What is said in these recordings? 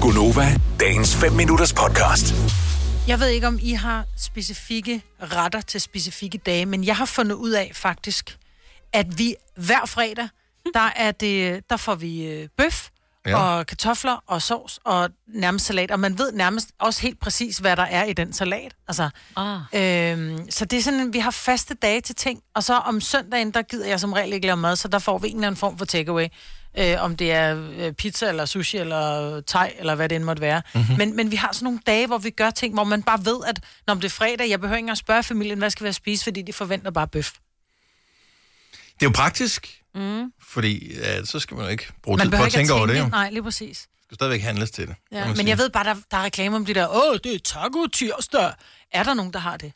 Gunova, dagens 5 minutters podcast. Jeg ved ikke, om I har specifikke retter til specifikke dage, men jeg har fundet ud af faktisk, at vi hver fredag, der, er det, der får vi øh, bøf Ja. ja. og kartofler og sovs og nærmest salat. Og man ved nærmest også helt præcis, hvad der er i den salat. Altså, Ah. øhm, så det er sådan, at vi har faste dage til ting. Og så om søndagen, der gider jeg som regel ikke lave mad, så der får vi en eller anden form for takeaway. Øh, om det er øh, pizza, eller sushi, eller thai, eller hvad det end måtte være. Mhm. Mm-hmm. Men, men vi har sådan nogle dage, hvor vi gør ting, hvor man bare ved, at når det er fredag, jeg behøver ikke engang spørge familien, hvad skal vi have at spise, fordi de forventer bare bøf. Det er jo praktisk, mm. fordi ja, så skal man jo ikke bruge Man tid på behøver at ikke tænke over det. Jo. Nej, lige præcis. Det skal stadigvæk handles til det. Ja, men jeg ved bare, der, der er reklame om det der, åh, det er taco tirsdag. Er der nogen, der har det?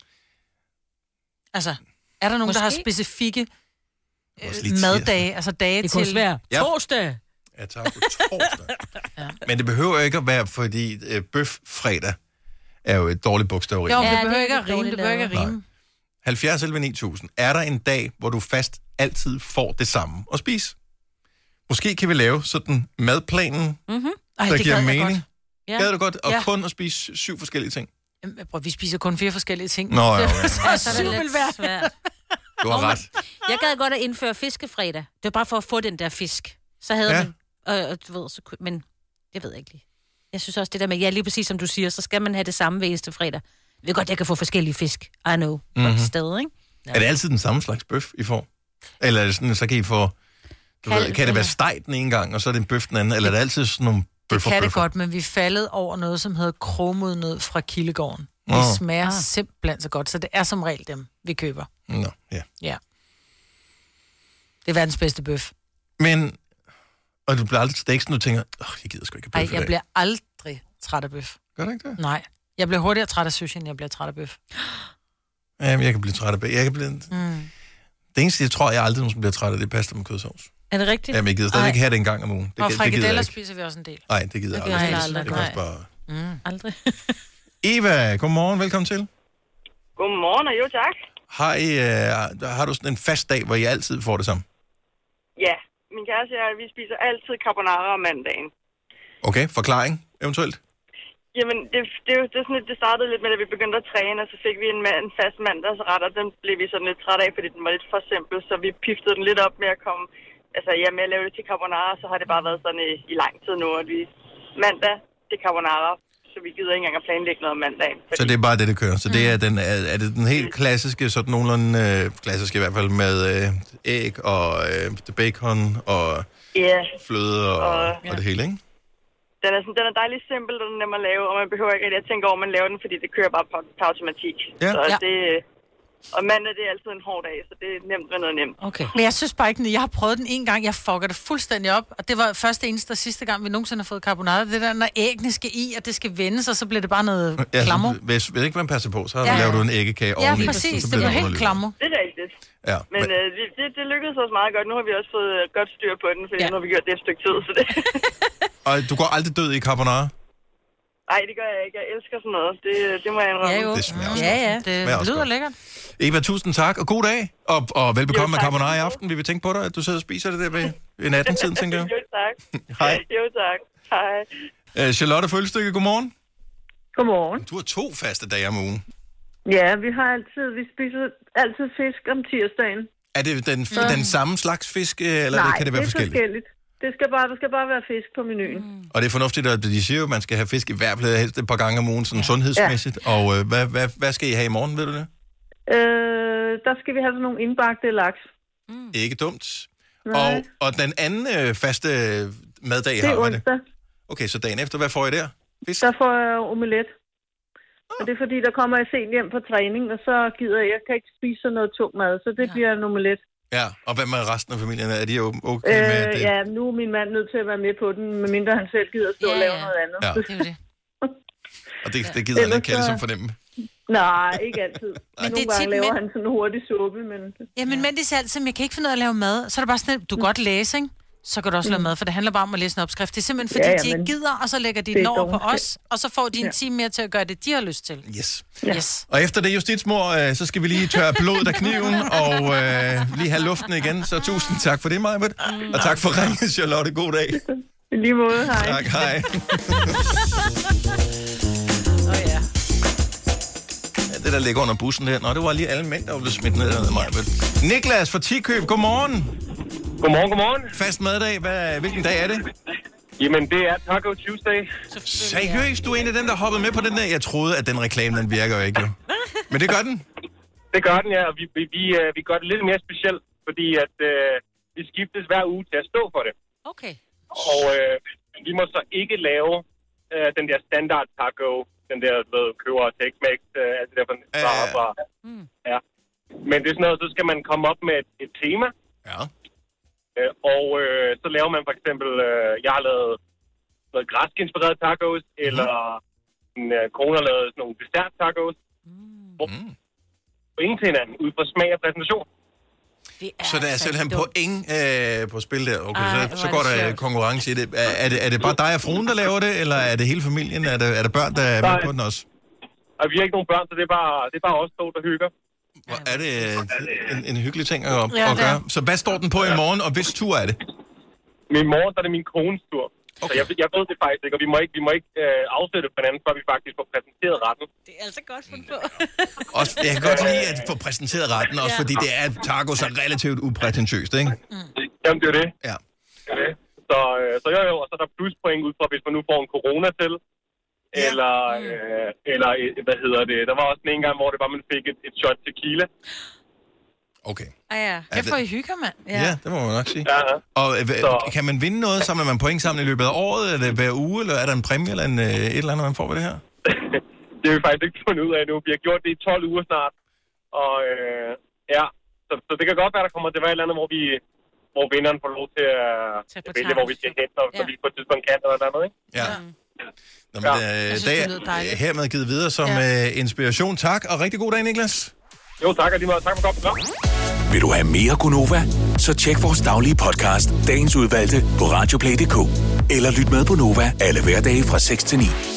Altså, er der nogen, Måske? der har Måske. specifikke ved, maddage, altså dage Det til... kunne også være Ja. torsdag. Ja, tak. Torsdag. Men det behøver ikke at være, fordi øh, bøf fredag er jo et dårligt bogstaveri. Jo, Ja, ja, det det er behøver ikke at lidt rime, det dårligt behøver ikke at lavet. rime. 70 11 9000. Er der en dag, hvor du fast altid får det samme at spise? Måske kan vi lave sådan madplanen, Ej, der Mm, det giver gad jeg mening. Ja. Gad du godt? Og Ja. kun at spise syv forskellige ting. godt. Jamen, Prøv, vi spiser kun fire forskellige ting. Nå, ja, ja. Og syv vil være... svært. Du har ret. Jeg gad godt at indføre fiskefredag. Det var bare for at få den der fisk. Så havde Ja. ja. man... Og, og, du ved, så, kunne- men det ved jeg ikke lige. Jeg synes også, det der med, ja, lige præcis som du siger, så skal man have det samme hver eneste fredag. Jeg ved godt, jeg kan få forskellige fisk. I know. Mhm. Mm-hmm. Sted, ikke? Er det altid den samme slags bøf, I får? Eller er det sådan, så kan I få... Du ved, Kalv, kan det være eller- steg den ene gang, og så er det en bøf den anden? Eller er det altid sådan nogle Det bøffer? kan det bøffer? godt, men vi faldet over noget, som hedder kromodnød fra Kildegården. Det Nå. Ah. smager simpelthen så godt, så det er som regel dem, vi køber. Nå, ja. Ja. Det er verdens bedste bøf. Men... Og du bliver aldrig til dæksen, du tænker, åh, oh, jeg gider sgu ikke have Ej, bøf i jeg dag." bliver aldrig træt af bøf. Gør du ikke det? Nej. Jeg bliver hurtigere træt af sushi, end jeg bliver træt af bøf. Jamen, jeg kan blive træt af bøf. Jeg kan blive... Mm. Det eneste, jeg tror, jeg aldrig nogensinde bliver træt af, det er pasta med kødsovs. Er det rigtigt? Jamen, jeg gider stadig Ej. ikke have det en gang om ugen. Det, Og gi- det gider jeg frikadeller ikke. spiser vi også en del. Nej, det gider jeg gider aldrig. jeg spise. aldrig, Det kan også bare... nej. Aldrig. Eva, godmorgen, velkommen til. Godmorgen og jo tak. Har, I, øh, har du sådan en fast dag, hvor I altid får det samme? Ja, min kæreste og jeg, vi spiser altid carbonara om mandagen. Okay, forklaring eventuelt? Jamen, det, det, er jo- det, er sådan, lidt- det startede lidt med, at vi begyndte at træne, og så fik vi en, mand, en fast mandagsret, og den blev vi sådan lidt træt af, fordi den var lidt for simpel, så vi piftede den lidt op med at komme... Altså, ja, med at lave det til carbonara, så har det bare været sådan i, i lang tid nu, at vi mandag, det er carbonara, så vi gider ikke engang at planlægge noget om mandagen. Så det er bare det, det kører. Så Mm. det er den, er, er det den helt klassiske, sådan nogenlunde øh, klassiske i hvert fald, med øh, æg og øh, bacon og Ja, fløde og, og, og det hele, ikke? den er, sådan, den er dejlig simpel, og den er nem at lave, og man behøver ikke rigtig at tænke over, at man laver den, fordi det kører bare på, på automatik. Ja. Så Ja. det, og mandag, det er altid en hård dag, så det er nemt med noget nemt. Okay. Men jeg synes bare ikke, jeg har prøvet den en gang, jeg fucker det fuldstændig op. Og det var første, eneste og sidste gang, vi nogensinde har fået carbonara. Det der, når æggene skal i, og det skal vendes, og så bliver det bare noget Ja, klammer. så hvis, hvis ikke man passer på, så ja. Ja. laver du en æggekage Ja, oveni. præcis. så Det bliver blev den helt underlig. klammer. Det er rigtigt. Ja, Men øh, vi- det, det lykkedes os meget godt. Nu har vi også fået øh, godt styr på den, fordi Ja. ja. nu har vi gjort det et stykke tid. Så det... og du går aldrig død i carbonara? Nej, det gør jeg ikke. Jeg elsker sådan noget. Det, det må jeg indrømme. Ja, jo. Det Mm. smager også ja, ja. Smager Det også lyder godt. lækkert. Eva, tusind tak, og god dag. Og, og velbekomme Jo, med tak. carbonara i aften. Vi vil tænke på dig, at du sidder og spiser det der ved en 18-tiden, tænker jeg. Jo, tak. Hej. Jo, tak. Hej. Øh, Charlotte Følstykke, godmorgen. Godmorgen. Du har to faste dage om ugen. Ja, vi har altid, vi spiser altid fisk om tirsdagen. Er det den, den samme slags fisk, øh, eller Nej, kan det det være er forskelligt? forskelligt. Det skal bare, der skal bare være fisk på menuen. Mm. Og det er fornuftigt, at de siger jo, at man skal have fisk i hvert fald helst et par gange om ugen, sådan sundhedsmæssigt. Og øh, hvad, hvad, hvad skal I have i morgen, ved du det? Øh, der skal vi have sådan nogle indbagte laks. Ikke dumt. Mm. Nej. Og, og den anden øh, faste øh, maddag Det har er man det. onsdag. Okay, så dagen efter, hvad får I der? Fisk? Der får jeg omelet. Og det er fordi, der kommer jeg sent hjem fra træning, og så gider jeg, jeg kan ikke spise sådan noget tung mad, så det bliver en omelet. Ja, og hvad med resten af familien? Er de jo okay med Øh, det? ja, nu er min mand nødt til at være med på den, medmindre han selv gider stå Ja, og lave ja. noget andet. Ja. Det er jo det. Og det, det gider han Ellers ikke kalde så- som fornemme. Nej, ikke altid. Men det er Nogle gange tit laver mænd- han sådan en hurtig suppe, men Jamen, men det er altid, men jeg kan ikke finde ud af at lave mad. Så er det bare sådan, at Mm. du kan godt læse, ikke? Så kan du også lave mad, for det handler bare om at læse en opskrift. Det er simpelthen fordi, Ja, ja, ja, ja, de ikke men gider, og så lægger de det den er over på dogenskab. os, og så får de en time mere til at gøre det, de har lyst til. Yes. Yes. Og efter det justitsmor, øh, så skal vi lige tørre blodet af kniven og øh, lige have luften igen. Så tusind tak for det, Majbet. Og tak for ringet, Charlotte. God dag. I lige måde, hej. Tak, hej. Åh oh, ja. Ja, det, der ligger under bussen der. Nå, det var lige alle mænd, der var blevet smidt ned af mig. Niklas fra Tikøb, godmorgen. Godmorgen, godmorgen. Fast maddag. Hvad, hvilken dag er det? Jamen, det er Taco Tuesday. Seriøst, du er en af dem, der hoppede med på den der. Jeg troede, at den reklame, den virker jo ikke. Jo. Men det gør den. Det gør den, ja, og vi, vi, vi, øh, vi gør det lidt mere specielt, fordi at øh, vi skiftes hver uge til at stå for det. Okay. Og øh, vi må så ikke lave øh, den der standard taco, den der du ved, køber tex mex øh, alt det der fra Ja, fra, ja, ja. fra. Ja. Men det er sådan noget, så skal man komme op med et, et tema, Ja. øh, og øh, så laver man for eksempel, øh, jeg har lavet noget græsk-inspireret tacos, eller min øh, kone har lavet sådan nogle dessert-tacos. Mm. Ingen til hinanden, ud fra smag og præsentation. Det er Så der er altså simpelthen dumt. point øh, på spil der. Okay, Ej, så, hvor så er går det der øh, sjovt. konkurrence i det. Er, er det. er det bare dig og fruen, der laver det, eller er det hele familien? Er det, er det børn, der er med Nej. på den også? Og vi har ikke nogen børn, så det er bare, det er bare os to, der hygger. Hvor er det øh, en, en hyggelig ting at, Ja, at det er. gøre. Så hvad står den på i morgen, og hvis tur er det? Min mor, der er det min kones tur. Okay. Så jeg, jeg ved det faktisk ikke, og vi må ikke, vi må ikke øh, afsætte for hinanden, før vi faktisk får præsenteret retten. Det er altså godt fundet på. Også, jeg kan godt lide at få præsenteret retten, også Ja. fordi det er tacos er relativt uprætentiøst, ikke? Mm. Jamen, det er jo det. Ja. Det er det. Så, øh, så jo, jo, og så er der pluspoint ud fra, hvis man nu får en corona til. Eller, øh, eller øh, hvad hedder det? Der var også en gang, hvor det var, man fik et, et shot tequila. Okay. Ah, ja. Kæft, hvor I hygger, mand. Ja, ja det må man nok sige. Ja, ja. Og øh, hva- Så- kan man vinde noget? Samler man point sammen i løbet af året? Er det hver uge, eller er der en præmie eller en, øh, et eller andet, man får ved det her? det har vi faktisk ikke fundet ud af nu. Vi har gjort det i 12 uger snart. Og øh, ja, så, så det kan godt være, der kommer til at være et eller andet, hvor vi hvor vinderen får lov til Tage at på vælge, hvor vi skal hen, og så Ja. vi på et tidspunkt kan eller noget andet, ikke? Ja. Nå, men, Ja. ja. Øh, synes, det det lyder dejligt. er hermed givet videre som ja. Ja. øh, inspiration. Tak, og rigtig god dag, Niklas. Jo, tak og lige meget. Tak for godt program. Vil du have mere Gunova? Så tjek vores daglige podcast, dagens udvalgte, på radioplay.dk. Eller lyt med på Nova alle hverdage fra 6 til 9.